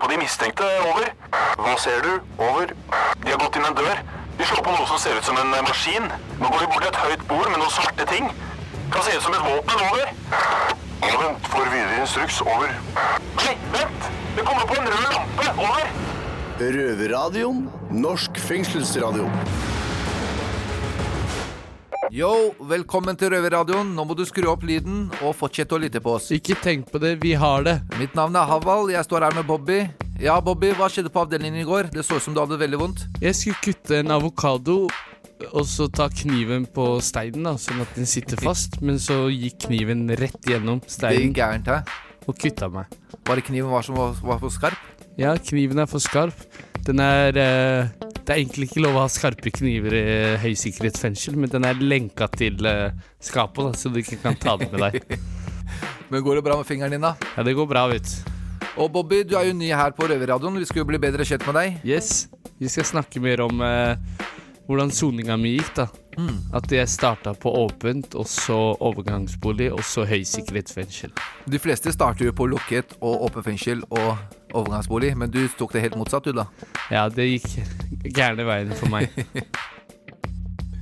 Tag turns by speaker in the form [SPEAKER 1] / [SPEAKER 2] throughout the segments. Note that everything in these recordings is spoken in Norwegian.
[SPEAKER 1] på de mistenkte. Over. Hva ser du? Over. De har gått inn en dør. De slår på noe som ser ut som en eh, maskin. Nå går de bort til et høyt bord med noen svarte ting. Kan se ut som et våpen. Over. Vent for videre instruks. Over. Nei, vent! Det kommer på en rød lampe. Over.
[SPEAKER 2] Røverradioen. Norsk fengselsradio.
[SPEAKER 3] Yo, velkommen til Røverradioen. Nå må du skru opp lyden og fortsette å lytte på oss.
[SPEAKER 4] Ikke tenk på det, vi har det.
[SPEAKER 3] Mitt navn er Haval, jeg står her med Bobby. Ja, Bobby, hva skjedde på avdelingen i går? Det så ut som du hadde det veldig vondt.
[SPEAKER 4] Jeg skulle kutte en avokado og så ta kniven på steinen, da, sånn at den sitter fast. Men så gikk kniven rett gjennom
[SPEAKER 3] Det gikk
[SPEAKER 4] steinen
[SPEAKER 3] gærent, hæ?
[SPEAKER 4] og kutta meg.
[SPEAKER 3] Bare kniven var som var, var for skarp?
[SPEAKER 4] Ja, kniven er for skarp. Den er eh, Det er egentlig ikke lov å ha skarpe kniver i høysikkerhetsfengsel, men den er lenka til eh, skapet, da, så du ikke kan ta den med deg.
[SPEAKER 3] Men går det bra med fingeren din, da?
[SPEAKER 4] Ja, det går bra, vet du.
[SPEAKER 3] Og Bobby, du er jo ny her på Røverradioen. Vi skal jo bli bedre kjent med deg.
[SPEAKER 4] Yes, vi skal snakke mer om eh, hvordan soninga mi gikk, da. At jeg starta på åpent, og så overgangsbolig, og så høysikkerhetsfengsel.
[SPEAKER 3] De fleste starter jo på lukket og åpen fengsel og overgangsbolig, men du tok det helt motsatt, du, da.
[SPEAKER 4] Ja, det gikk gærne veien for meg.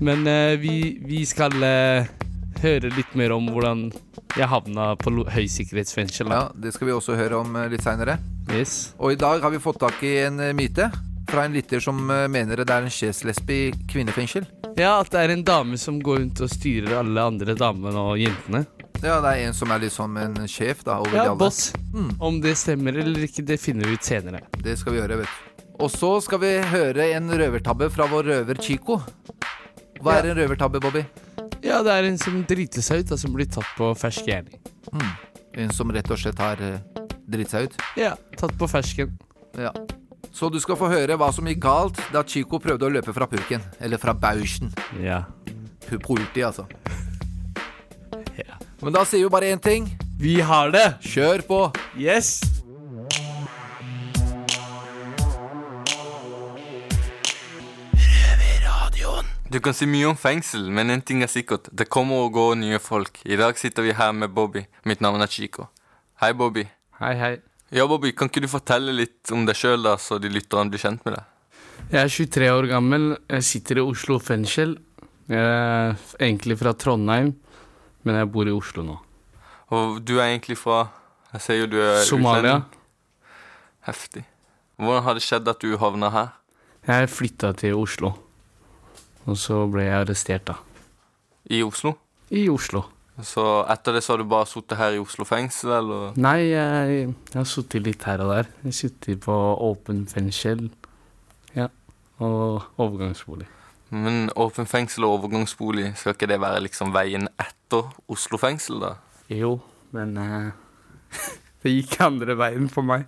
[SPEAKER 4] Men eh, vi, vi skal eh, høre litt mer om hvordan jeg havna på lo- høysikkerhetsfengsel. Da.
[SPEAKER 3] Ja, Det skal vi også høre om eh, litt seinere.
[SPEAKER 4] Yes.
[SPEAKER 3] Og i dag har vi fått tak i en eh, myte fra en lytter som eh, mener det er en skjeslesbe i kvinnefengsel.
[SPEAKER 4] ja, at det er en dame som går rundt og styrer alle andre damene og jentene.
[SPEAKER 3] Ja, det er en som er liksom en sjef, da. Over de
[SPEAKER 4] Ja,
[SPEAKER 3] alle.
[SPEAKER 4] boss. Mm. Om det stemmer eller ikke, det finner vi ut senere.
[SPEAKER 3] Det skal vi gjøre, vet du. Og så skal vi høre en røvertabbe fra vår røver Chico. Hva er en røvertabbe, Bobby?
[SPEAKER 4] Ja, det er en som driter seg ut, da, som blir tatt på fersk gjerning.
[SPEAKER 3] En som rett og slett har eh, dritt seg ut?
[SPEAKER 4] Ja, tatt på fersken.
[SPEAKER 3] Ja. Så du skal få høre hva som gikk galt da Chico prøvde å løpe fra purken. Eller fra bauschen.
[SPEAKER 4] Ja.
[SPEAKER 3] Pu- Politi, altså.
[SPEAKER 4] Ja.
[SPEAKER 3] Men da sier vi bare én ting.
[SPEAKER 4] Vi har det!
[SPEAKER 3] Kjør på!
[SPEAKER 4] Yes!
[SPEAKER 5] Du kan si mye om fengsel, men en ting er sikkert. Det kommer og går nye folk. I dag sitter vi her med Bobby. Mitt navn er Chico. Hei, Bobby.
[SPEAKER 4] Hei, hei.
[SPEAKER 5] Ja, Bobby, kan ikke du fortelle litt om deg sjøl, da, så de lytterne blir kjent med deg?
[SPEAKER 4] Jeg er 23 år gammel. Jeg sitter i Oslo fengsel. Jeg er egentlig fra Trondheim, men jeg bor i Oslo nå.
[SPEAKER 5] Og du er egentlig fra Jeg ser jo du er
[SPEAKER 4] Somalia.
[SPEAKER 5] utlending. Heftig. Hvordan har det skjedd at du havna her?
[SPEAKER 4] Jeg flytta til Oslo, og så ble jeg arrestert, da.
[SPEAKER 5] I Oslo?
[SPEAKER 4] I Oslo.
[SPEAKER 5] Så etter det så har du bare sittet her i Oslo fengsel, eller?
[SPEAKER 4] Nei, jeg, jeg har sittet litt her og der. Jeg har sittet på åpen fengsel. Ja. Og overgangsbolig.
[SPEAKER 5] Men åpen fengsel og overgangsbolig, skal ikke det være liksom veien etter Oslo fengsel, da?
[SPEAKER 4] Jo, men eh, det gikk andre veien for meg.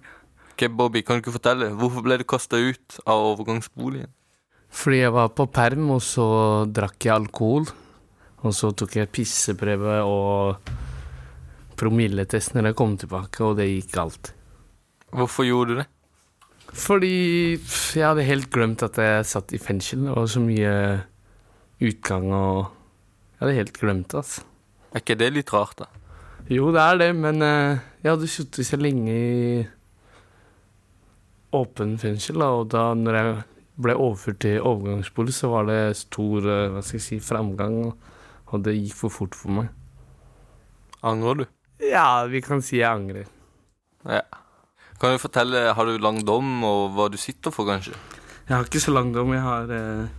[SPEAKER 5] Ok, Bobby, kan du ikke fortelle, hvorfor ble du kasta ut av overgangsboligen?
[SPEAKER 4] Fordi jeg var på perm, og så drakk jeg alkohol. Og så tok jeg pisseprøve og promilletest når jeg kom tilbake, og det gikk galt.
[SPEAKER 5] Hvorfor gjorde du det?
[SPEAKER 4] Fordi pff, jeg hadde helt glemt at jeg satt i fengsel. Det var så mye utgang og Jeg hadde helt glemt det, altså.
[SPEAKER 5] Er ikke det litt rart, da?
[SPEAKER 4] Jo, det er det, men eh, jeg hadde sittet så lenge i åpen fengsel, da, og da når jeg ble overført til overgangsbolig, så var det stor eh, hva skal jeg si, framgang, og, og det gikk for fort for meg.
[SPEAKER 5] Angrer du?
[SPEAKER 4] Ja, vi kan si jeg angrer.
[SPEAKER 5] Ja. Kan du fortelle, har du lang dom, og hva du sitter for, kanskje?
[SPEAKER 4] Jeg har ikke så lang dom, jeg har eh,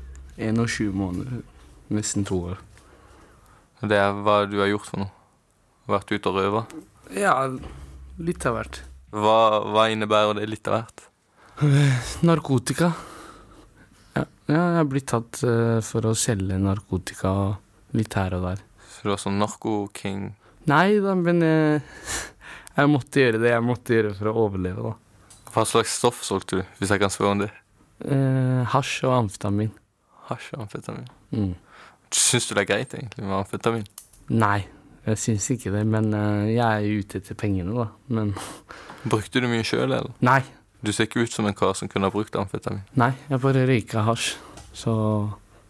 [SPEAKER 4] 21 måneder. Nesten to år.
[SPEAKER 5] Det er hva du har gjort for noe. Vært ute og røva.
[SPEAKER 4] Ja, litt av hvert.
[SPEAKER 5] Hva, hva innebærer det litt av hvert?
[SPEAKER 4] Narkotika. Ja, ja jeg har blitt tatt eh, for å selge narkotika litt her og der.
[SPEAKER 5] Så du var sånn narko-king.
[SPEAKER 4] Nei da, men jeg, jeg måtte gjøre det jeg måtte gjøre for å overleve, da.
[SPEAKER 5] Hva slags stoff solgte du, hvis jeg kan spørre om det?
[SPEAKER 4] Eh, hasj og amfetamin.
[SPEAKER 5] Hasj og amfetamin.
[SPEAKER 4] Mm.
[SPEAKER 5] Syns du det er greit, egentlig, med amfetamin?
[SPEAKER 4] Nei, jeg syns ikke det, men eh, jeg er jo ute etter pengene, da. Men
[SPEAKER 5] Brukte du mye sjøl, eller?
[SPEAKER 4] nei,
[SPEAKER 5] Du ser ikke ut som en kar som kunne ha brukt amfetamin.
[SPEAKER 4] nei, jeg bare røyka hasj. Så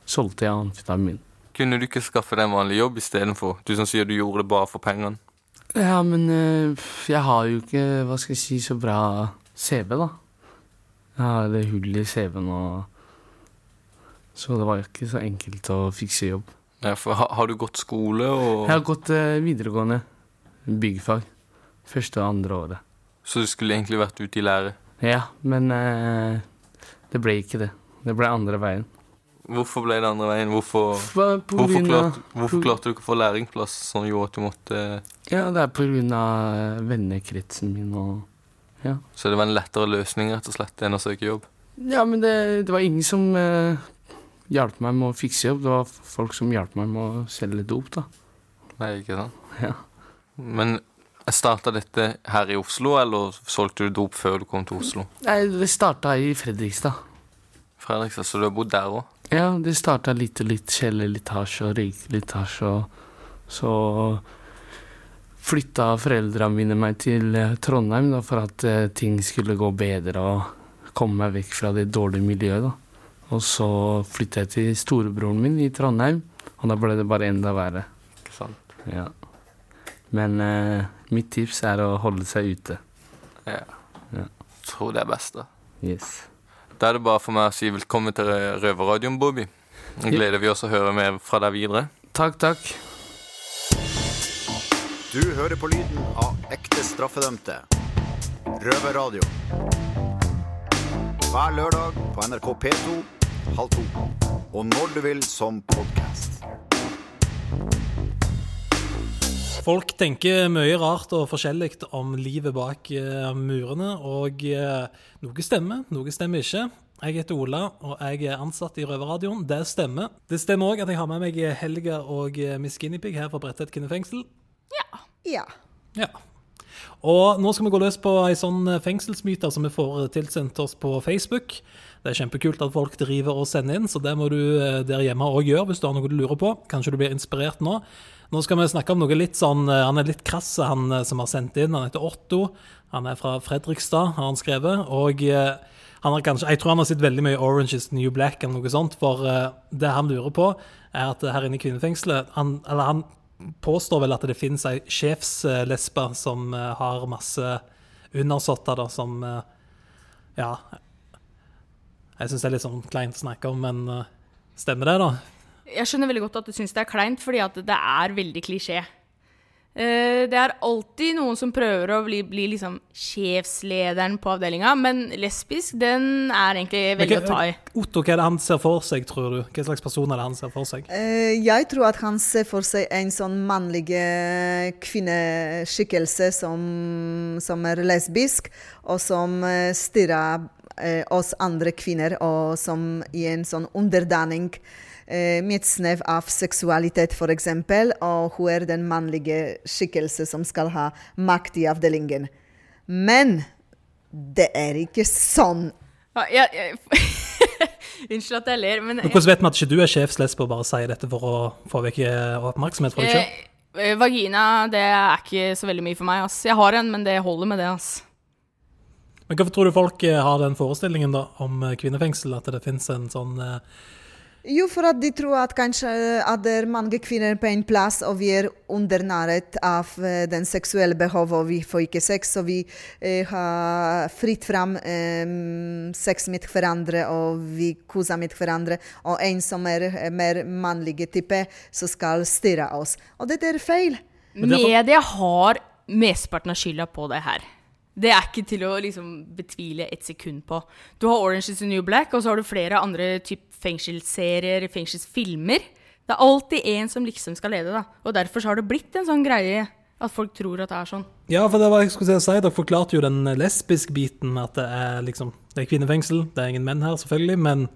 [SPEAKER 4] solgte jeg amfetamin.
[SPEAKER 5] Kunne du ikke skaffe deg en vanlig jobb istedenfor? Du som sier du gjorde det bare for pengene.
[SPEAKER 4] Ja, men eh, pff, jeg har jo ikke, hva skal jeg si, så bra CV, da. Jeg har det hullet i CV-en og Så det var jo ikke så enkelt å fikse jobb.
[SPEAKER 5] Ja, for har, har du gått skole og
[SPEAKER 4] Jeg har gått eh, videregående byggfag. Første og andre året.
[SPEAKER 5] Så du skulle egentlig vært ute i lære.
[SPEAKER 4] Ja, men eh, det ble ikke det. Det ble andre veien.
[SPEAKER 5] Hvorfor ble det andre veien? Hvorfor,
[SPEAKER 4] Hva- på
[SPEAKER 5] hvorfor,
[SPEAKER 4] grunn av-
[SPEAKER 5] klarte, hvorfor klarte du ikke å få lærlingplass som gjorde at du måtte
[SPEAKER 4] Ja, det er på grunn av eh, vennekretsen min og
[SPEAKER 5] Så det var en lettere løsning rett og slett enn å søke jobb?
[SPEAKER 4] Ja, men det, det var ingen som eh, hjalp meg med å fikse jobb. Det var folk som hjalp meg med å selge dop, da.
[SPEAKER 5] Nei, ikke sant?
[SPEAKER 4] Ja.
[SPEAKER 5] Men starta dette her i Oslo, eller solgte du dop før du kom til Oslo?
[SPEAKER 4] Nei, det starta i Fredrikstad.
[SPEAKER 5] Fredrikstad, så du har bodd der òg?
[SPEAKER 4] Ja, det starta litt og litt. Kjeller litt hasj og røyke litt hasj og Så flytta foreldra mine meg til eh, Trondheim da, for at eh, ting skulle gå bedre og komme meg vekk fra det dårlige miljøet. da. Og så flytta jeg til storebroren min i Trondheim, og da ble det bare enda verre.
[SPEAKER 5] Ikke sant?
[SPEAKER 4] Ja. Men eh, mitt tips er å holde seg ute.
[SPEAKER 5] Ja.
[SPEAKER 4] Ja.
[SPEAKER 5] Tror det er best, da.
[SPEAKER 4] Yes.
[SPEAKER 5] Da er det bare for meg å si velkommen til Rø- Røverradioen, Bobby. Nå Gleder vi oss å høre mer fra deg videre.
[SPEAKER 4] Takk, takk.
[SPEAKER 2] Du hører på lyden av ekte straffedømte. Røverradio. Hver lørdag på NRK P2 halv to. Og når du vil som podkast.
[SPEAKER 6] Folk tenker mye rart og forskjellig om livet bak eh, murene, og eh, noe stemmer, noe stemmer ikke. Jeg heter Ola, og jeg er ansatt i Røverradioen. Det stemmer. Det stemmer òg at jeg har med meg Helga og eh, Miss Guinepeig her fra Bredtvet kvinnefengsel.
[SPEAKER 7] Ja.
[SPEAKER 6] Ja. Og nå skal vi gå løs på ei sånn fengselsmyte som vi får eh, tilsendt oss på Facebook. Det er kjempekult at folk driver og sender inn, så det må du eh, der hjemme òg gjøre hvis du har noe du lurer på. Kanskje du blir inspirert nå. Nå skal vi snakke om noe litt sånn eh, Han er litt krass, han eh, som har sendt inn. Han heter Otto. Han er fra Fredrikstad, har han skrevet. Og eh, han har kanskje, jeg tror han har sett veldig mye Orange is the New Black eller noe sånt, for eh, det han lurer på, er at her inne i kvinnefengselet han, Eller han påstår vel at det finnes ei sjefslesbe som eh, har masse undersåtter da, som eh, Ja. Jeg syns det er litt sånn kleint å snakke om, men eh, stemmer det, da?
[SPEAKER 7] Jeg skjønner veldig godt at du syns det er kleint, fordi at det er veldig klisjé. Eh, Det er alltid noen som prøver å bli, bli liksom sjefslederen på avdelinga, men lesbisk, den er egentlig veldig
[SPEAKER 6] Men
[SPEAKER 7] å ta i.
[SPEAKER 6] hva- Otto, hva er det han ser for seg, tror du? Hva slags person er det han ser for seg?
[SPEAKER 8] Eh, Jeg tror at han ser for seg en sånn mannlig eh, kvinneskikkelse som, som er lesbisk, og som eh, stirrer eh, oss andre kvinner, og som i en sånn underdanning eh, med et snev av seksualitet, f.eks., og hun er den mannlige skikkelse som skal ha makt i avdelingen. Men det er ikke sånn
[SPEAKER 7] Ja, jeg, jeg, unnskyld at jeg ler, men
[SPEAKER 6] Men Hvordan vet vi at ikke du er sjefslesbe og bare sier dette for å få vekk eh, oppmerksomhet fra deg sjøl?
[SPEAKER 7] eh, eh, vagina det er ikke så veldig mye for meg. ass. Jeg har en, men det holder med det. ass.
[SPEAKER 6] Men hvorfor tror du folk eh, har den forestillingen da om eh, kvinnefengsel, at det finnes en sånn eh,
[SPEAKER 8] Jo, for at de tror at kanskje at det er mange kvinner på en plass, og vi er undernæret av eh, den seksuelle behovet, og vi får ikke sex, så vi eh, har fritt fram eh, sex med hverandre, og vi koser med hverandre, og en som er eh, mer mannlig type, så skal styre oss. Og dette er feil.
[SPEAKER 7] Media har mesteparten av skylda på det her. Det er ikke til å liksom betvile et sekund på. Du har Orange is the New Black, og så har du flere andre typ fengselsserier, fengselsfilmer. Det er alltid én som liksom skal lede, da. Og derfor så har det blitt en sånn greie at folk tror at det er sånn.
[SPEAKER 6] Ja, for det var jeg skulle til å si. Dere forklarte jo den lesbiske biten med at det er liksom Det er kvinnefengsel, det er ingen menn her, selvfølgelig, men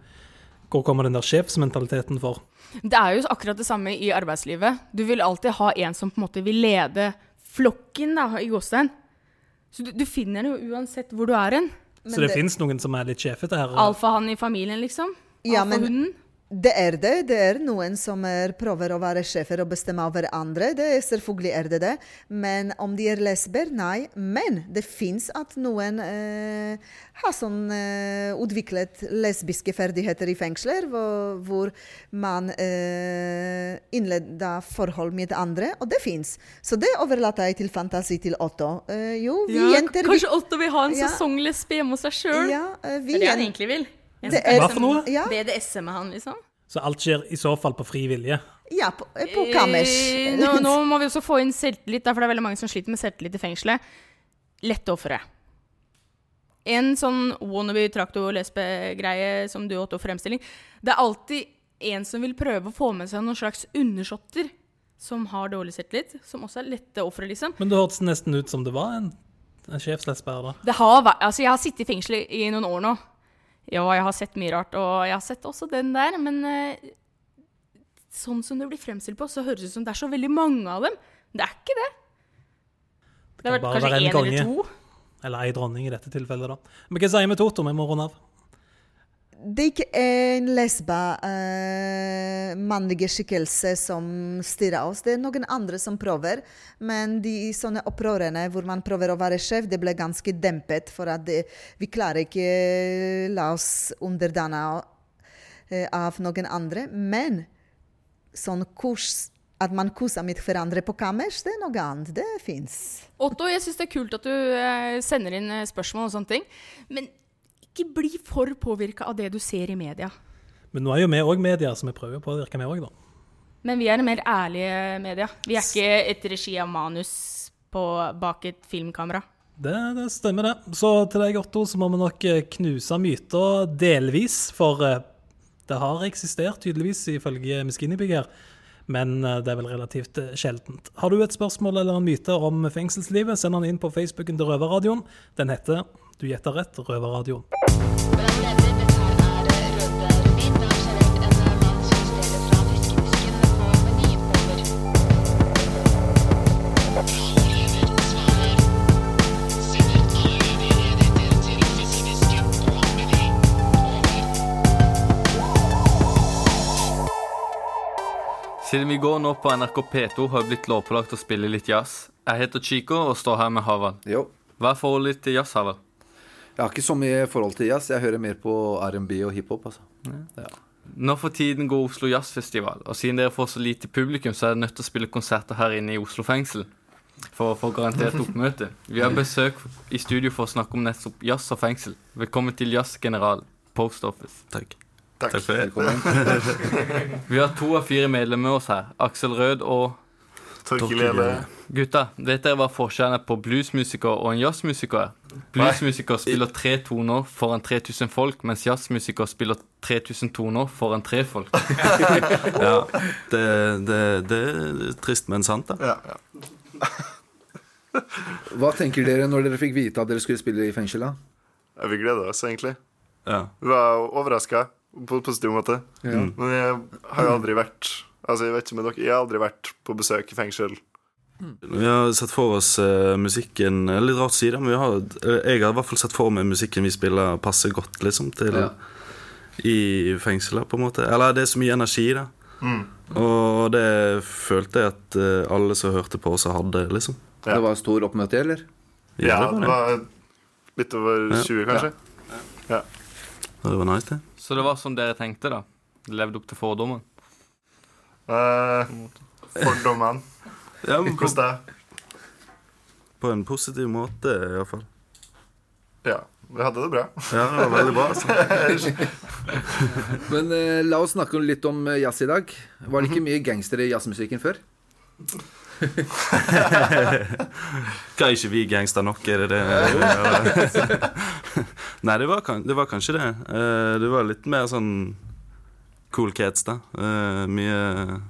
[SPEAKER 6] hvor kommer den der sjefsmentaliteten for?
[SPEAKER 7] Det er jo akkurat det samme i arbeidslivet. Du vil alltid ha en som på en måte vil lede flokken, da, i gåstein. Så du, du finner det jo uansett hvor du er hen.
[SPEAKER 6] Så det, finnes noen som er litt sjefete her? og-
[SPEAKER 7] Alfahannen i familien, liksom.
[SPEAKER 8] Ja, men-
[SPEAKER 7] Alfahunden.
[SPEAKER 8] Det er det. Det er noen som er, prøver å være sjefer og bestemme over andre. Det er selvfølgelig er det det. Men om de er lesber? Nei. Men det fins at noen eh, har sånn eh, utviklet lesbiske ferdigheter i fengsler, hvor, hvor man eh, innleder forhold med andre, og det fins. Så det overlater jeg til fantasi til Otto. Eh, jo, vi
[SPEAKER 7] Ja,
[SPEAKER 8] jenter vi,
[SPEAKER 7] kanskje Otto vil ha en
[SPEAKER 8] Ja.
[SPEAKER 7] sesonglesbe hjemme hos seg sjøl.
[SPEAKER 8] ja, eh,
[SPEAKER 7] Det
[SPEAKER 8] vi
[SPEAKER 7] er det han
[SPEAKER 8] jen-
[SPEAKER 7] egentlig vil. Jeg
[SPEAKER 8] Det
[SPEAKER 7] skal
[SPEAKER 8] er-
[SPEAKER 6] Hva for noe?
[SPEAKER 8] Ja.
[SPEAKER 7] BDSM med han, liksom.
[SPEAKER 6] Så alt skjer i så fall på fri vilje.
[SPEAKER 8] Ja, på, på kammers.
[SPEAKER 7] Eh, Nå, nå må vi også få inn selvtillit, da, for det er veldig mange som sliter med selvtillit i fengselet. Lette ofre. En sånn wannabe traktor-lesbe-greie som du åtte fremstilling. Det er alltid en som vil prøve å få med seg noen slags undersåtter som har dårlig selvtillit, som også er lette ofre, liksom.
[SPEAKER 6] Men det hørtes nesten ut som det var en, en sjefslesbe her, da.
[SPEAKER 7] Det har vært, altså jeg har sittet i fengsel i i noen år nå. Ja, jeg har sett mye rart, og jeg har sett også den der, men eh, sånn som det blir fremstilt på, så høres det ut som det er så veldig mange av dem. Det er ikke det. Det
[SPEAKER 6] kan
[SPEAKER 7] har vært
[SPEAKER 6] bare
[SPEAKER 7] kanskje
[SPEAKER 6] være en
[SPEAKER 7] én eller
[SPEAKER 6] konge.
[SPEAKER 7] to.
[SPEAKER 6] Eller ei dronning i dette tilfellet, da. Men hva sier vi til Otto? Vi må runde av.
[SPEAKER 8] Det er ikke en lesba eh, mannlige skikkelse som styrer oss. Det er noen andre som prøver. Men de sånne opprørene hvor man prøver å være sjef, det ble ganske dempet. For at det, vi klarer ikke eh, la oss underdanne eh, av noen andre. Men sånn kurs at man koser med hverandre på kammers, det er noe annet. Det fins.
[SPEAKER 7] Otto, jeg syns det er kult at du eh, sender inn eh, spørsmål og sånne ting, men ikke bli for påvirka av det du ser i media.
[SPEAKER 6] Men nå er jo vi òg media, så vi prøver på å virke med òg, da.
[SPEAKER 7] Men vi er mer ærlige media. Vi er ikke et regi av manus på, bak et filmkamera.
[SPEAKER 6] Det, det stemmer, det. Så til deg, Otto, så må vi nok eh, knuse myter delvis, for eh, det har eksistert, tydeligvis, ifølge Miskinibygg her. Men eh, det er vel relativt eh, sjeldent. Har du et spørsmål eller en myte om fengselslivet, send han inn på Facebooken til Røverradioen. Den heter Du gjetter rett, Røverradioen.
[SPEAKER 5] Siden vi går nå på NRK P2, har jeg blitt lovpålagt å spille litt jazz. Jeg heter Chico og står her med Havald.
[SPEAKER 9] Jo.
[SPEAKER 5] Hva er forholdet ditt til jazz, Havald?
[SPEAKER 9] Jeg har ikke så mye forhold til jazz. Jeg hører mer på R&B og hiphop. Altså. Ja.
[SPEAKER 5] Nå for tiden går Oslo Jazzfestival, og siden dere får så lite publikum, så er dere nødt til å spille konserter her inne i Oslo fengsel. For å få garantert oppmøte. Vi har besøk i studio for å snakke om nettopp jazz og fengsel. Velkommen til Jazz General, Post Office. Takk.
[SPEAKER 9] Takk.
[SPEAKER 10] Eh,
[SPEAKER 5] for det.
[SPEAKER 9] Velkommen.
[SPEAKER 5] Vi har to av fire medlemmer med oss her. Aksel Rød og
[SPEAKER 9] Torkelele.
[SPEAKER 5] Gutta, vet dere hva forskjellen er på bluesmusiker og en jazzmusiker er? Bluesmusiker spiller tre toner foran 3000 folk, mens jazzmusiker spiller 3000 toner foran tre folk.
[SPEAKER 10] Det, det, eh, det er trist, men sant, da.
[SPEAKER 9] Hva tenker dere når dere fikk vite at dere skulle spille i fengsel? da?
[SPEAKER 11] Ja, vi gleder oss egentlig.
[SPEAKER 10] Ja.
[SPEAKER 11] Vi var overraska på en positiv måte.
[SPEAKER 9] Ja.
[SPEAKER 11] Men jeg har jo aldri vært Altså, jeg vet ikke med dere, jeg har aldri vært på besøk i fengsel.
[SPEAKER 10] Vi har sett for oss eh, musikken eh, Litt rart å si det, men vi har, eh, jeg har i hvert fall sett for meg musikken vi spiller, passer godt liksom til
[SPEAKER 9] Ja.
[SPEAKER 10] i fengselet, på en måte. Eller det er så mye energi, da. Og det følte jeg at eh, alle som hørte på, også hadde, liksom.
[SPEAKER 11] Ja.
[SPEAKER 9] Det var stor oppmøte, eller?
[SPEAKER 11] Ja,
[SPEAKER 10] det
[SPEAKER 11] det
[SPEAKER 10] var,
[SPEAKER 11] var litt over 20, kanskje.
[SPEAKER 10] det. det var nice, det.
[SPEAKER 5] Så det var som dere tenkte, da. Levde opp til fordommene.
[SPEAKER 11] Eh, Fordommene.
[SPEAKER 10] Ja, men på,
[SPEAKER 11] Hvordan det?
[SPEAKER 10] på en positiv måte, iallfall.
[SPEAKER 11] Ja, vi hadde det bra.
[SPEAKER 10] Ja, det var veldig bra. Altså.
[SPEAKER 9] Men eh, la oss snakke litt om eh, jazz i dag. Var det ikke mye gangster i jazzmusikken før?
[SPEAKER 10] Hva, er ikke vi gangster nok, er det det? Eller? Nei, det var, kan- det var kanskje det. Eh, Det var litt mer sånn cool cats, da. Eh, Mye,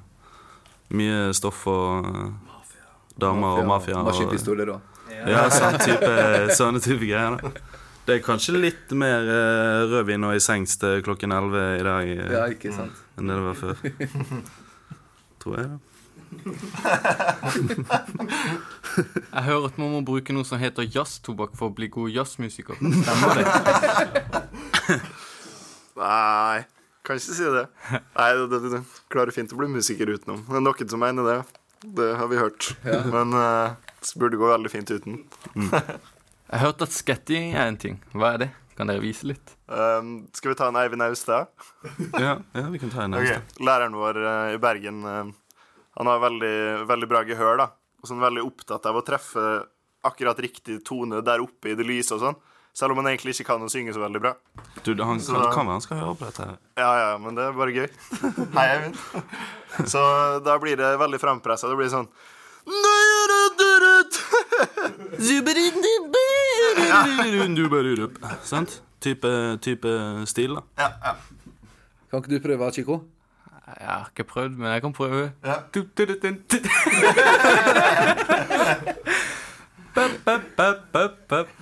[SPEAKER 10] mye stoff og eh, damer og mafia. og-
[SPEAKER 9] Maskinpistoler og
[SPEAKER 10] Ja, sånn type, sånne type greier. da det er kanskje litt mer eh, rødvin og i sengs til klokken 11 i dag eh,
[SPEAKER 9] Ja, ikke sant?
[SPEAKER 10] enn det det var før. Tror jeg, da.
[SPEAKER 5] Jeg hører at man må bruke noe som heter jazztobakk for å bli god jazzmusiker. Stemmer det?
[SPEAKER 11] Nei. Kan ikke si det. Nei, det, det, det klarer fint å bli musiker utenom. Det er noen som mener det. Det har vi hørt. Men eh, det burde gå veldig fint uten.
[SPEAKER 5] Jeg har hørt at sketting er en ting. Hva er det? Kan dere vise litt?
[SPEAKER 11] Um, skal vi ta en Eivind Austad?
[SPEAKER 10] Ja, ja, vi kan ta en
[SPEAKER 11] Ok.
[SPEAKER 10] neste.
[SPEAKER 11] Læreren vår eh, i Bergen eh, Han har veldig, veldig bra gehør da Og sånn veldig opptatt av å treffe Akkurat riktig tone der oppe i det lyse og sånn Selv om han egentlig ikke kan å synge så veldig bra
[SPEAKER 10] Du, han, kan, kan være han skal høre på dette. her.
[SPEAKER 11] Ja, ja, men det er bare gøy Hei, Eivind Så da blir det veldig frempresset Det blir sånn
[SPEAKER 10] Du bare rurer opp. Sant? Type, type stil, da.
[SPEAKER 9] Kan ikke du prøve, Chico?
[SPEAKER 5] Jeg har ikke prøvd, men jeg kan prøve.
[SPEAKER 11] Ja.
[SPEAKER 5] Du, du, du, du, du.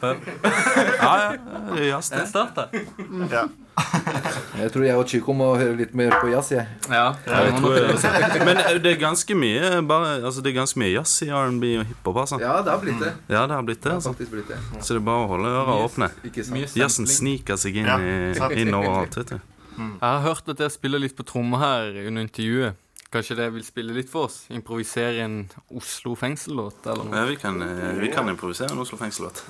[SPEAKER 10] Ja, ja. Det er jazz, det.
[SPEAKER 5] Jeg starter.
[SPEAKER 11] Ja,
[SPEAKER 9] Jeg tror jeg og Chico må høre litt mer på jazz. Jeg.
[SPEAKER 5] Ja, jeg må nok det.
[SPEAKER 10] Men eh, det er ganske mye bare, altså, Det er ganske mye jazz i R&B og hiphop. Altså. Ja.
[SPEAKER 9] Ja, det har blitt det.
[SPEAKER 10] det har blitt det. Altså.
[SPEAKER 9] Faktisk blitt det.
[SPEAKER 10] Så det er bare å holde øra åpne.
[SPEAKER 9] Ikke sant?
[SPEAKER 5] Mye
[SPEAKER 10] Jazzen
[SPEAKER 5] sampling.
[SPEAKER 10] sniker seg inn,
[SPEAKER 11] Ja, sant.
[SPEAKER 10] i, inn overalt. vet du
[SPEAKER 5] Jeg har hørt at dere spiller litt på trommer her under intervjuet. Kanskje dere vil spille litt for oss? Improvisere en Oslo fengsel-låt eller noe?
[SPEAKER 10] ja, vi, kan, eh, vi kan improvisere en Oslo fengsel-låt.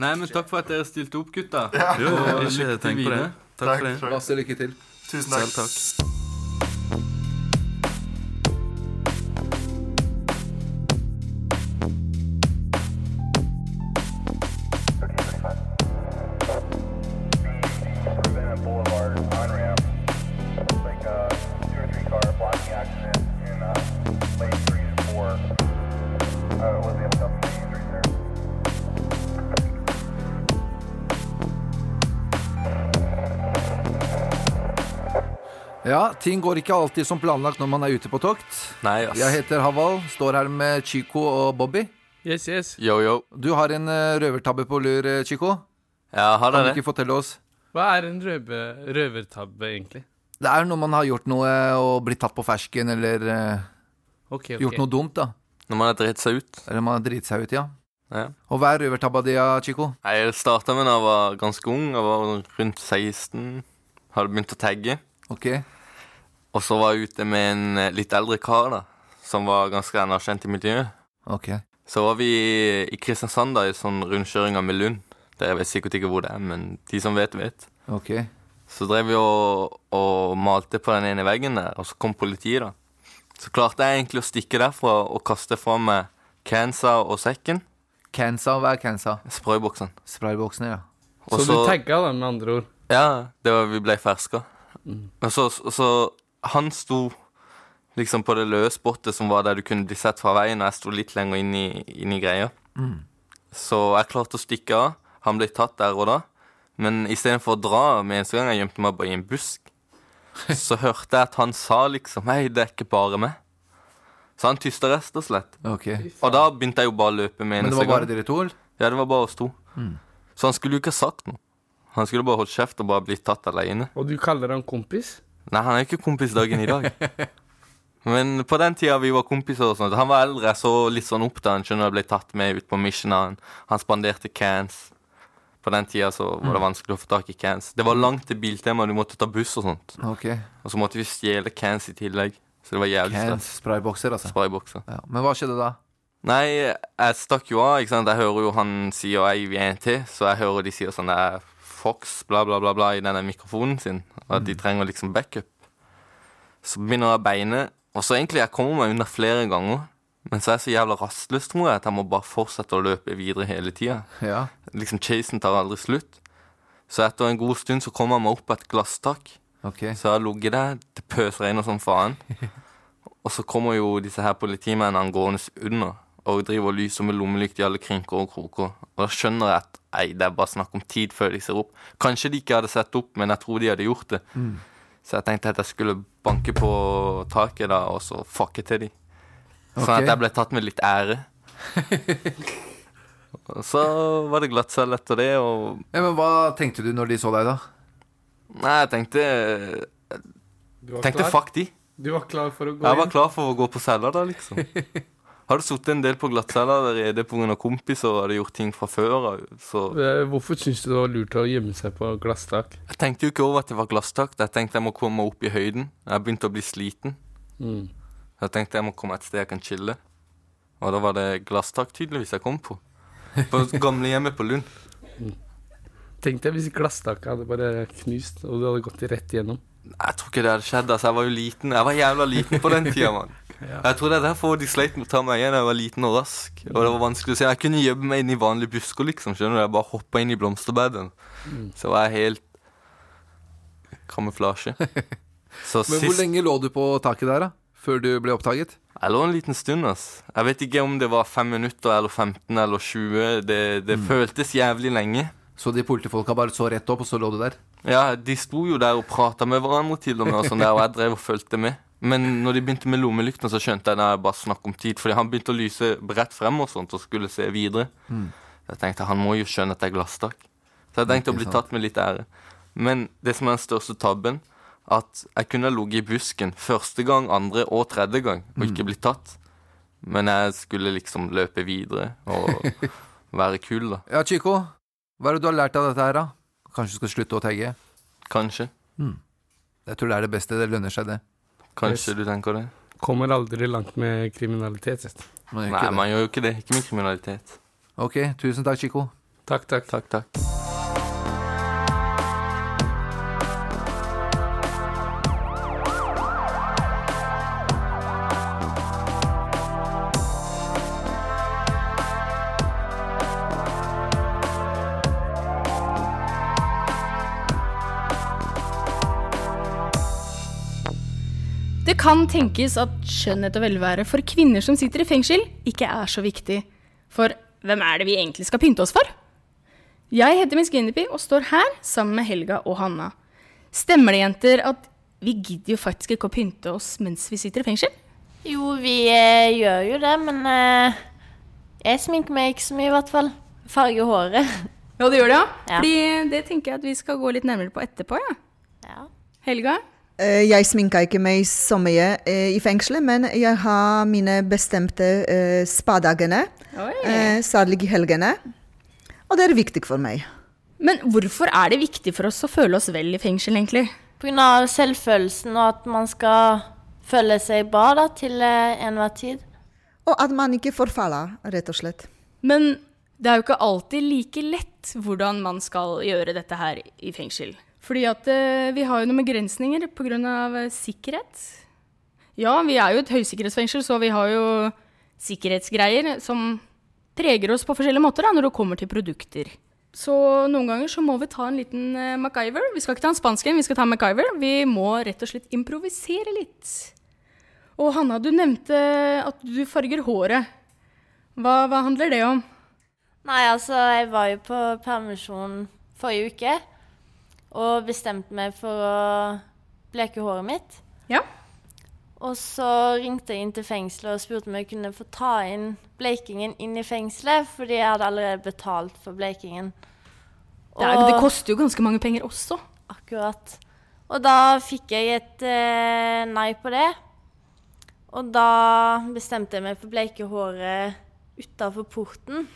[SPEAKER 5] Nei, men takk for at dere stilte opp, gutta.
[SPEAKER 10] Jo, jeg har ikke
[SPEAKER 5] lykke til
[SPEAKER 10] tenkt på det.
[SPEAKER 5] videre.
[SPEAKER 10] Takk for det.
[SPEAKER 9] Masse lykke til.
[SPEAKER 11] Tusen
[SPEAKER 10] Selv
[SPEAKER 11] takk
[SPEAKER 10] takk.
[SPEAKER 3] Ja, ting går ikke alltid som planlagt når man er ute på tokt.
[SPEAKER 5] Nei, ass.
[SPEAKER 3] Jeg heter Haval, står her med Chico og Bobby.
[SPEAKER 4] Yes, yes.
[SPEAKER 5] Yo, yo.
[SPEAKER 3] Du har en eh, røvertabbe på lur, eh, Chico.
[SPEAKER 5] Ja, har
[SPEAKER 3] Kan du
[SPEAKER 5] dere det?
[SPEAKER 3] ikke fortelle oss?
[SPEAKER 4] Hva er en røve, røvertabbe, egentlig?
[SPEAKER 3] Det er når man har gjort noe eh, og blitt tatt på fersken, eller eh,
[SPEAKER 4] Ok, ok.
[SPEAKER 3] gjort noe dumt, da.
[SPEAKER 5] Når man har dritt seg ut?
[SPEAKER 3] Eller man har driti seg ut, ja.
[SPEAKER 5] Ja.
[SPEAKER 3] Og hva er røvertabba di, ja, Chico?
[SPEAKER 5] Nei, Jeg starta med da jeg var ganske ung. Jeg var rundt 16. Hadde begynt å tagge.
[SPEAKER 3] Ok.
[SPEAKER 5] Og så var jeg ute med en eh, litt eldre kar da, som var ganske anerkjent i miljøet.
[SPEAKER 3] ok.
[SPEAKER 5] Så var vi i Kristiansand da, i sånn rundkjøringer med Lund. Dere vet sikkert ikke hvor det er, men de som vet, vet.
[SPEAKER 3] Ok.
[SPEAKER 5] Så drev vi og, og malte på den ene veggen der, og så kom politiet da. Så klarte jeg egentlig å stikke derfra og kaste fra meg cansa og sekken,
[SPEAKER 3] Cansa, hva er cansa?
[SPEAKER 5] sprøyboksen.
[SPEAKER 3] Sprayboksene, ja.
[SPEAKER 5] Og
[SPEAKER 4] Så du tagga, da, med andre ord?
[SPEAKER 5] Ja, det var, vi ble ferska. Og så, og så han sto liksom på det løse spottet som var der du kunne bli sett fra veien, og jeg sto litt lenger inn i, inn i greia.
[SPEAKER 3] Mm.
[SPEAKER 5] Så jeg klarte å stikke av. Han ble tatt der og da. Men istedenfor å dra med eneste gang jeg gjemte meg bare i en busk, så hørte jeg at han sa liksom Hei, det er ikke bare meg. Så han tysta rett og slett.
[SPEAKER 3] Ok.
[SPEAKER 5] Og da begynte jeg jo bare å løpe med
[SPEAKER 3] Men det
[SPEAKER 5] eneste
[SPEAKER 3] var
[SPEAKER 5] gang.
[SPEAKER 3] bare dere to? eller?
[SPEAKER 5] Ja, det var bare oss to.
[SPEAKER 3] Mm.
[SPEAKER 5] Så han skulle jo ikke ha sagt noe. Han skulle bare holdt kjeft og bare blitt tatt alene.
[SPEAKER 4] Og du kaller han kompis?
[SPEAKER 5] Nei, han er ikke kompis dagen i dag. Men på den tida vi var kompiser og sånt, han var eldre, jeg så litt sånn opp da han skjønner jeg ble tatt med ut på mission. Han, han spanderte cans. På den tida så var
[SPEAKER 3] Mm.
[SPEAKER 5] det vanskelig å få tak i cans. Det var langt til Biltema, du måtte ta buss og sånt.
[SPEAKER 3] Ok.
[SPEAKER 5] Og så måtte vi stjele cans i tillegg. Så det var jævlig
[SPEAKER 3] Cans,
[SPEAKER 5] stress.
[SPEAKER 3] spraybokser, altså.
[SPEAKER 5] Spraybokser.
[SPEAKER 3] Ja. Men hva skjedde da?
[SPEAKER 5] Nei, jeg stakk jo av, ikke sant. Jeg hører jo han sier ei vi er en til, så jeg hører de sier sånn det er Fox, bla, bla, bla, bla, i denne mikrofonen sin. Og at de trenger liksom backup. Så begynner jeg beinet, og så egentlig jeg kommer meg unna flere ganger. Men så er jeg så jævla rastløs, tror jeg, at jeg må bare fortsette å løpe videre hele tida.
[SPEAKER 3] Ja.
[SPEAKER 5] Liksom, chasen tar aldri slutt. Så etter en god stund så kommer jeg meg opp på et glasstak.
[SPEAKER 3] Ok.
[SPEAKER 5] Så jeg har ligget der, det pøsregner som sånn faen. Og så kommer jo disse her politimennene gående under og driver og lyser med lommelykt i alle krinker og kroker. Og da skjønner jeg at nei, det er bare snakk om tid før de ser opp. Kanskje de ikke hadde sett opp, men jeg tror de hadde gjort det. Så jeg tenkte at jeg skulle banke på taket da, og så fucke til de. Sånn
[SPEAKER 3] Ok.
[SPEAKER 5] at jeg ble tatt med litt ære. Og så var det glattcelle etter det, og
[SPEAKER 3] Ja, men hva tenkte du når de så deg, da?
[SPEAKER 5] Nei, jeg tenkte
[SPEAKER 12] Du var
[SPEAKER 5] Tenkte
[SPEAKER 12] klar?
[SPEAKER 5] fuck de.
[SPEAKER 12] Du var klar for å gå
[SPEAKER 5] Jeg var
[SPEAKER 12] inn?
[SPEAKER 5] klar for å gå på cella da, liksom. Hadde sittet en del på glattcella allerede pga. kompiser og hadde gjort ting fra før av. Så
[SPEAKER 12] Eh, Hvorfor syns du det var lurt å gjemme seg på glasstak?
[SPEAKER 5] jeg tenkte jo ikke over at det var glasstak. Jeg tenkte jeg må komme opp i høyden. Jeg begynte å bli sliten.
[SPEAKER 12] Mm.
[SPEAKER 5] Jeg tenkte jeg må komme et sted jeg kan chille. Og da var det glasstak tydeligvis jeg kom på. På gamlehjemmet på Lund.
[SPEAKER 12] Tenk deg hvis glasstaket hadde bare knust, og du hadde gått rett igjennom.
[SPEAKER 5] Jeg tror ikke det hadde skjedd. altså Jeg var jo liten. Jeg var jævla liten på den tida, mann. Jeg tror det er derfor de sleit med å ta meg igjen. Jeg var liten og rask. Og det var vanskelig å se. Jeg kunne gjemme meg inn i vanlige busker, liksom. skjønner du? Jeg bare hoppa inn i blomsterbaden.
[SPEAKER 3] Mm.
[SPEAKER 5] Så var jeg helt kamuflasje. Så
[SPEAKER 3] Men hvor
[SPEAKER 5] sist
[SPEAKER 3] lenge lå du på taket der, da? Før du ble oppdaget?
[SPEAKER 5] Jeg lå en liten stund, ass. Jeg vet ikke om det var fem minutter eller 15 eller 20. Det, det
[SPEAKER 3] Mm.
[SPEAKER 5] føltes jævlig lenge.
[SPEAKER 3] Så de politifolka bare så rett opp, og så lå du der?
[SPEAKER 5] Ja, de sto jo der og prata med hverandre til og med, og sånn der, og jeg drev og fulgte med. Men når de begynte med lommelykten, så skjønte jeg at det bare snakk om tid. Fordi han begynte å lyse bredt frem og sånt, og skulle se videre. Jeg tenkte han må jo skjønne at det er glasstak. Så jeg tenkte å
[SPEAKER 3] Ikke
[SPEAKER 5] bli
[SPEAKER 3] sant.
[SPEAKER 5] tatt med litt ære. Men det som er den største tabben, at jeg kunne ha ligget i busken første gang, andre og tredje gang og ikke blitt tatt. Men jeg skulle liksom løpe videre og være kul, da.
[SPEAKER 3] Ja, Chico, hva er det du har lært av dette her, da? Hmm. Kanskje du skal slutte å tagge?
[SPEAKER 5] Kanskje.
[SPEAKER 3] Jeg tror det er det beste. Det lønner seg, det.
[SPEAKER 5] Kanskje du tenker det.
[SPEAKER 12] Kommer aldri langt med kriminalitet. vet du.
[SPEAKER 3] Man gjør
[SPEAKER 5] Nei,
[SPEAKER 3] ikke det.
[SPEAKER 5] man gjør jo ikke det. Ikke med kriminalitet.
[SPEAKER 3] Ok, tusen takk, Chico.
[SPEAKER 12] Takk, takk.
[SPEAKER 5] Takk, takk.
[SPEAKER 7] Det kan tenkes at skjønnhet og velvære for kvinner som sitter i fengsel, ikke er så viktig. For hvem er det vi egentlig skal pynte oss for? Jeg heter Miss Guinevere og står her sammen med Helga og Hanna. Stemmer det, jenter, at vi gidder jo faktisk ikke å pynte oss mens vi sitter i fengsel?
[SPEAKER 13] Jo, vi eh, gjør jo det, men eh, jeg sminker meg ikke så mye, i hvert fall. Farger håret.
[SPEAKER 7] Ja, det gjør det, ja.
[SPEAKER 13] Ja.
[SPEAKER 7] Fordi eh, det tenker jeg at vi skal gå litt nærmere på etterpå, ja. Helga?
[SPEAKER 8] Eh, Jeg sminker ikke meg så mye eh, i fengselet, men jeg har mine bestemte eh, spadagene. eh, Særlig i helgene. Og det er viktig for meg.
[SPEAKER 7] Men hvorfor er det viktig for oss å føle oss vel i fengsel, egentlig?
[SPEAKER 13] Pga. selvfølelsen og at man skal føle seg bra da, til eh, enhver tid.
[SPEAKER 8] Og at man ikke forfaller, rett og slett.
[SPEAKER 7] Men det er jo ikke alltid like lett hvordan man skal gjøre dette her i fengsel. Fordi at eh, vi har jo noen begrensninger pga. eh, sikkerhet. Ja, vi er jo et høysikkerhetsfengsel, så vi har jo sikkerhetsgreier som preger oss på forskjellige måter da, når det kommer til produkter. Så noen ganger så må vi ta en liten eh, MacGyver. Vi skal ikke ta en spansk en, vi skal ta en MacGyver. Vi må rett og slett improvisere litt. Og Hanna, du nevnte at du farger håret. Hva, hva handler det om?
[SPEAKER 13] Nei, altså, jeg var jo på permisjon forrige uke og bestemte meg for å bleke håret mitt.
[SPEAKER 7] Ja.
[SPEAKER 13] Og så ringte jeg inn til fengselet og spurte om jeg kunne få ta inn blekingen inn i fengselet, fordi jeg hadde allerede betalt for blekingen.
[SPEAKER 7] Det, er, det koster jo ganske mange penger også.
[SPEAKER 13] Akkurat. Og da fikk jeg et eh, nei på det. Og da bestemte jeg meg for å bleike håret utafor porten.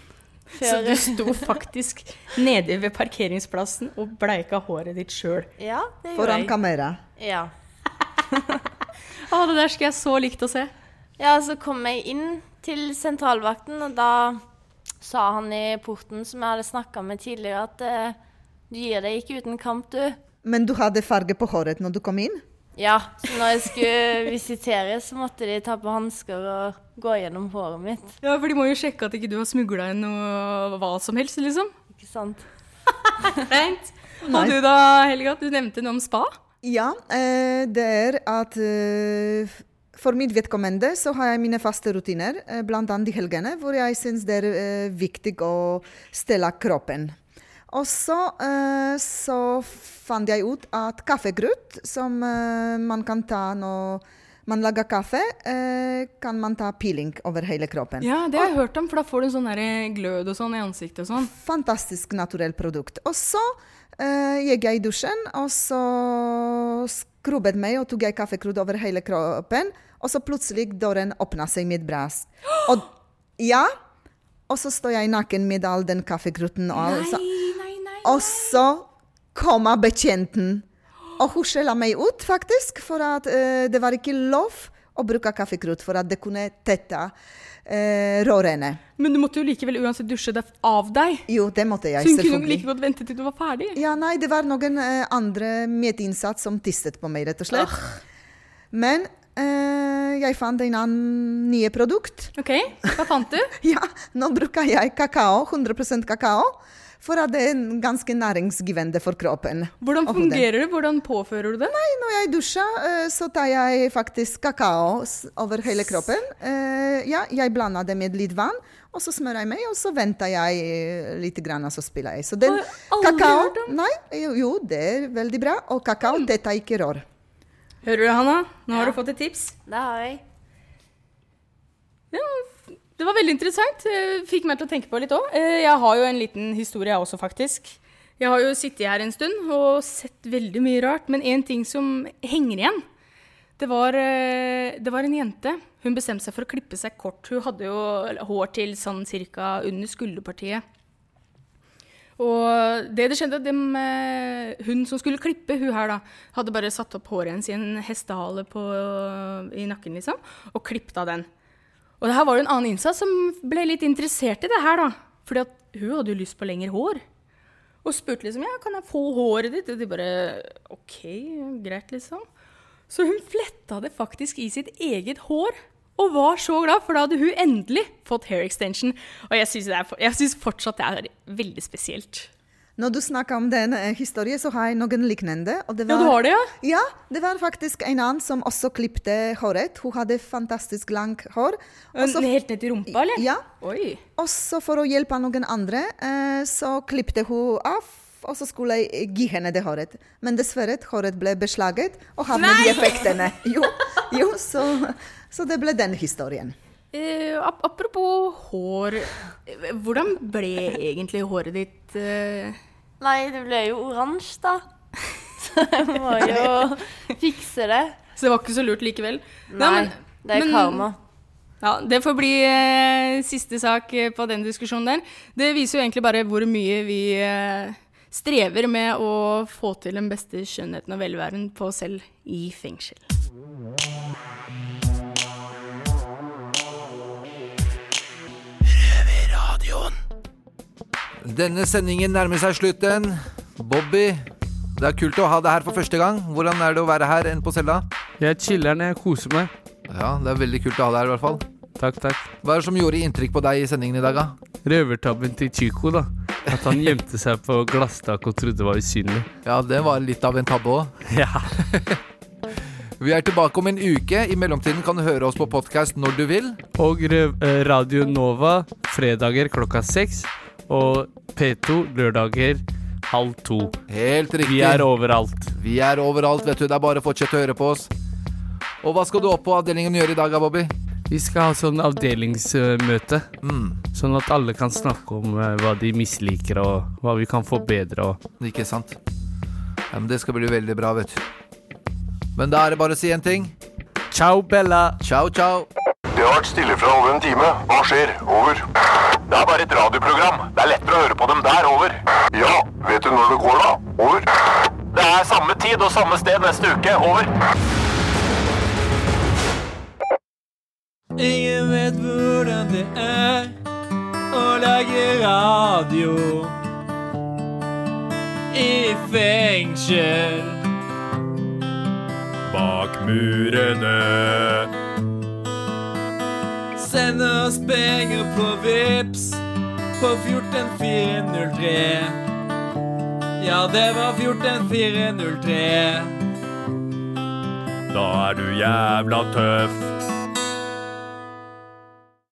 [SPEAKER 7] Så du sto faktisk nede ved parkeringsplassen og bleika håret ditt sjøl.
[SPEAKER 13] Ja, det gjorde
[SPEAKER 8] Foran
[SPEAKER 13] jeg.
[SPEAKER 8] kamera.
[SPEAKER 13] Ja.
[SPEAKER 7] Ah, Å, det der skulle jeg så likt å se.
[SPEAKER 13] Ja, så kom jeg inn til sentralvakten, og da sa han i porten som jeg hadde snakka med tidligere, at eh, du gir deg ikke uten kamp, du.
[SPEAKER 8] Men du hadde farge på håret når du kom inn?
[SPEAKER 13] Ja, så når jeg skulle visiteres, så måtte de ta på hansker og gå gjennom håret mitt.
[SPEAKER 7] Ja, for de må jo sjekke at ikke du har smugla inn noe hva som helst, liksom.
[SPEAKER 13] Ikke sant.
[SPEAKER 7] Rent. Og
[SPEAKER 8] Nei.
[SPEAKER 7] du da, Helga, du nevnte noe om spa.
[SPEAKER 8] Ja, eh, det er at eh, for mitt vedkommende så har jeg mine faste rutiner, eh, blant annet i helgene, hvor jeg syns det er eh, viktig å stelle kroppen. Og så, eh, så fant jeg ut at kaffegrut, som eh, man kan ta når man lager kaffe, eh, kan man ta peeling over hele kroppen.
[SPEAKER 7] Ja, det har jeg hørt om, for da får du en sånn der glød og sånn i ansiktet og sånn.
[SPEAKER 8] Fantastisk naturelt produkt. Og så eh, gikk jeg i dusjen, og så skrubbet meg og tok jeg kaffekrut over hele kroppen. Og så plutselig døren åpna seg med et bras. Og, ja, og så står jeg naken med all den kaffekruten. Og, all-
[SPEAKER 7] altså.
[SPEAKER 8] så- og så kommer betjenten. Og hun skjella meg ut, faktisk, for at eh, det var ikke lov å bruke kaffekrut for at det kunne tette eh, rørene.
[SPEAKER 7] Men du måtte jo likevel uansett dusje deg av deg.
[SPEAKER 8] Jo, det måtte jeg,
[SPEAKER 7] Så hun kunne jo
[SPEAKER 8] selvfølgelig.
[SPEAKER 7] like godt vente til du var ferdig.
[SPEAKER 8] Ja, nei, det var noen eh, andre medinnsatt som tisset på meg, rett og slett. Men eh, jeg fant en annen nye produkt.
[SPEAKER 7] Ok, hva fant du?
[SPEAKER 8] ja, nå bruker jeg kakao, 100 kakao, for at det er en ganske næringsgivende for kroppen.
[SPEAKER 7] Hvordan
[SPEAKER 8] Og hodet.
[SPEAKER 7] fungerer det? Hvordan påfører du det?
[SPEAKER 8] Nei, når jeg dusjer, eh, så tar jeg faktisk kakao s- over hele kroppen. Eh, ja, jeg blander det med litt vann, og så smører jeg meg, og så venter jeg eh, litt, grann, og så spiller jeg. Så den
[SPEAKER 7] aldri
[SPEAKER 8] kakao
[SPEAKER 7] hørt Mm.
[SPEAKER 8] Nei, jo, jo, det er veldig bra. Og kakao, dette er ikke rør.
[SPEAKER 7] Hører du, Hanna? Nå har du fått et tips.
[SPEAKER 13] Det har jeg.
[SPEAKER 7] Ja, det var veldig interessant. Eh, Fikk meg til å tenke på litt òg. Jeg har jo en liten historie, jeg også, faktisk. Jeg har jo sittet her en stund og sett veldig mye rart, men én ting som henger igjen, det var, eh, det var en jente. Hun bestemte seg for å klippe seg kort. Hun hadde jo hår til sånn cirka under skulderpartiet. Og det det skjedde, dem, eh, hun som skulle klippe, hun her da, hadde bare satt opp håret hennes i en hestehale på, i nakken, liksom, og klippet av den. Og det her var jo en annen innsatt som ble litt interessert i det her, da. Fordi at hun hadde jo lyst på lengre hår. Og spurte liksom ja, kan jeg få håret ditt? Og de bare OK, greit, liksom. Så hun fletta det faktisk i sitt eget hår. Og var så glad, for da hadde hun endelig fått hair extension. Og jeg syns det er for- jeg syns fortsatt det er veldig spesielt.
[SPEAKER 8] Når du snakker om den eh, historien, så har jeg noen lignende. Og det
[SPEAKER 7] Ja, du har det, ja?
[SPEAKER 8] Ja, det var faktisk en annen som også klippte håret. Hun hadde fantastisk langt hår.
[SPEAKER 7] Men helt ned til rumpa, eller?
[SPEAKER 8] Ja.
[SPEAKER 7] Oi.
[SPEAKER 8] Også for å hjelpe noen andre, eh, så klippte hun av, og så skulle jeg eh, gi henne det håret. Men dessverre, håret ble beslaget og havnet i
[SPEAKER 7] Nei!
[SPEAKER 8] effektene. Jo, jo så, så det ble den historien.
[SPEAKER 7] Eh, ap apropos hår. eh, Hvordan ble egentlig håret ditt eh?
[SPEAKER 13] Nei, det ble jo oransje, da. Så jeg må jo fikse det.
[SPEAKER 7] Så det var ikke så lurt likevel?
[SPEAKER 13] Nei, det er karma.
[SPEAKER 7] Ja, Det får bli eh, siste sak eh, på den diskusjonen der. Det viser jo egentlig bare hvor mye vi eh, strever med å få til den beste skjønnheten og velværen på oss selv i fengsel.
[SPEAKER 3] Denne sendingen nærmer seg slutten. Bobby, det er kult å ha deg her for første gang. Hvordan er det å være her enn på cella?
[SPEAKER 4] Jeg chiller'n, jeg koser meg.
[SPEAKER 3] Ja, det er veldig kult å ha deg her i hvert fall.
[SPEAKER 4] Takk, takk.
[SPEAKER 3] Hva er det som gjorde inntrykk på deg i sendingen i dag, da?
[SPEAKER 4] Røvertabben til Chico, da. At han gjemte seg på glasstak og trodde var usynlig.
[SPEAKER 3] Ja, det var litt av en tabbe òg.
[SPEAKER 4] Ja.
[SPEAKER 3] Vi er tilbake om en uke. I mellomtiden kan du høre oss på podkast når du vil.
[SPEAKER 4] Og røv- eh, Radio Nova fredager klokka seks. Og P2 lørdager halv to.
[SPEAKER 3] Helt riktig.
[SPEAKER 4] Vi er overalt.
[SPEAKER 3] Vi er overalt, vet du. Det er bare å fortsette å høre på oss. Og hva skal du opp på avdelingen gjøre i dag, da, Bobby?
[SPEAKER 4] Vi skal ha sånn avdelingsmøte. Sånn at alle kan snakke om eh, hva de misliker, og hva vi kan forbedre. Og
[SPEAKER 3] Ikke sant. Ja, men det skal bli veldig bra, vet du. Men da er det bare å si en ting.
[SPEAKER 4] Ciao, Bella.
[SPEAKER 3] Ciao, ciao.
[SPEAKER 1] Det har vært stille fra over en time. Hva skjer? Over. Det er bare et radioprogram. Det er lettere å høre på dem der. Over. Ja, vet du når det går, da? Over. Det er samme tid og samme sted neste uke. Over.
[SPEAKER 14] Ingen vet hvordan det er å lage radio i fengsel.
[SPEAKER 15] Bak murene.
[SPEAKER 14] Send oss penger på VIPS på 14403. Ja, det var 14403.
[SPEAKER 15] Da er du jævla tøff.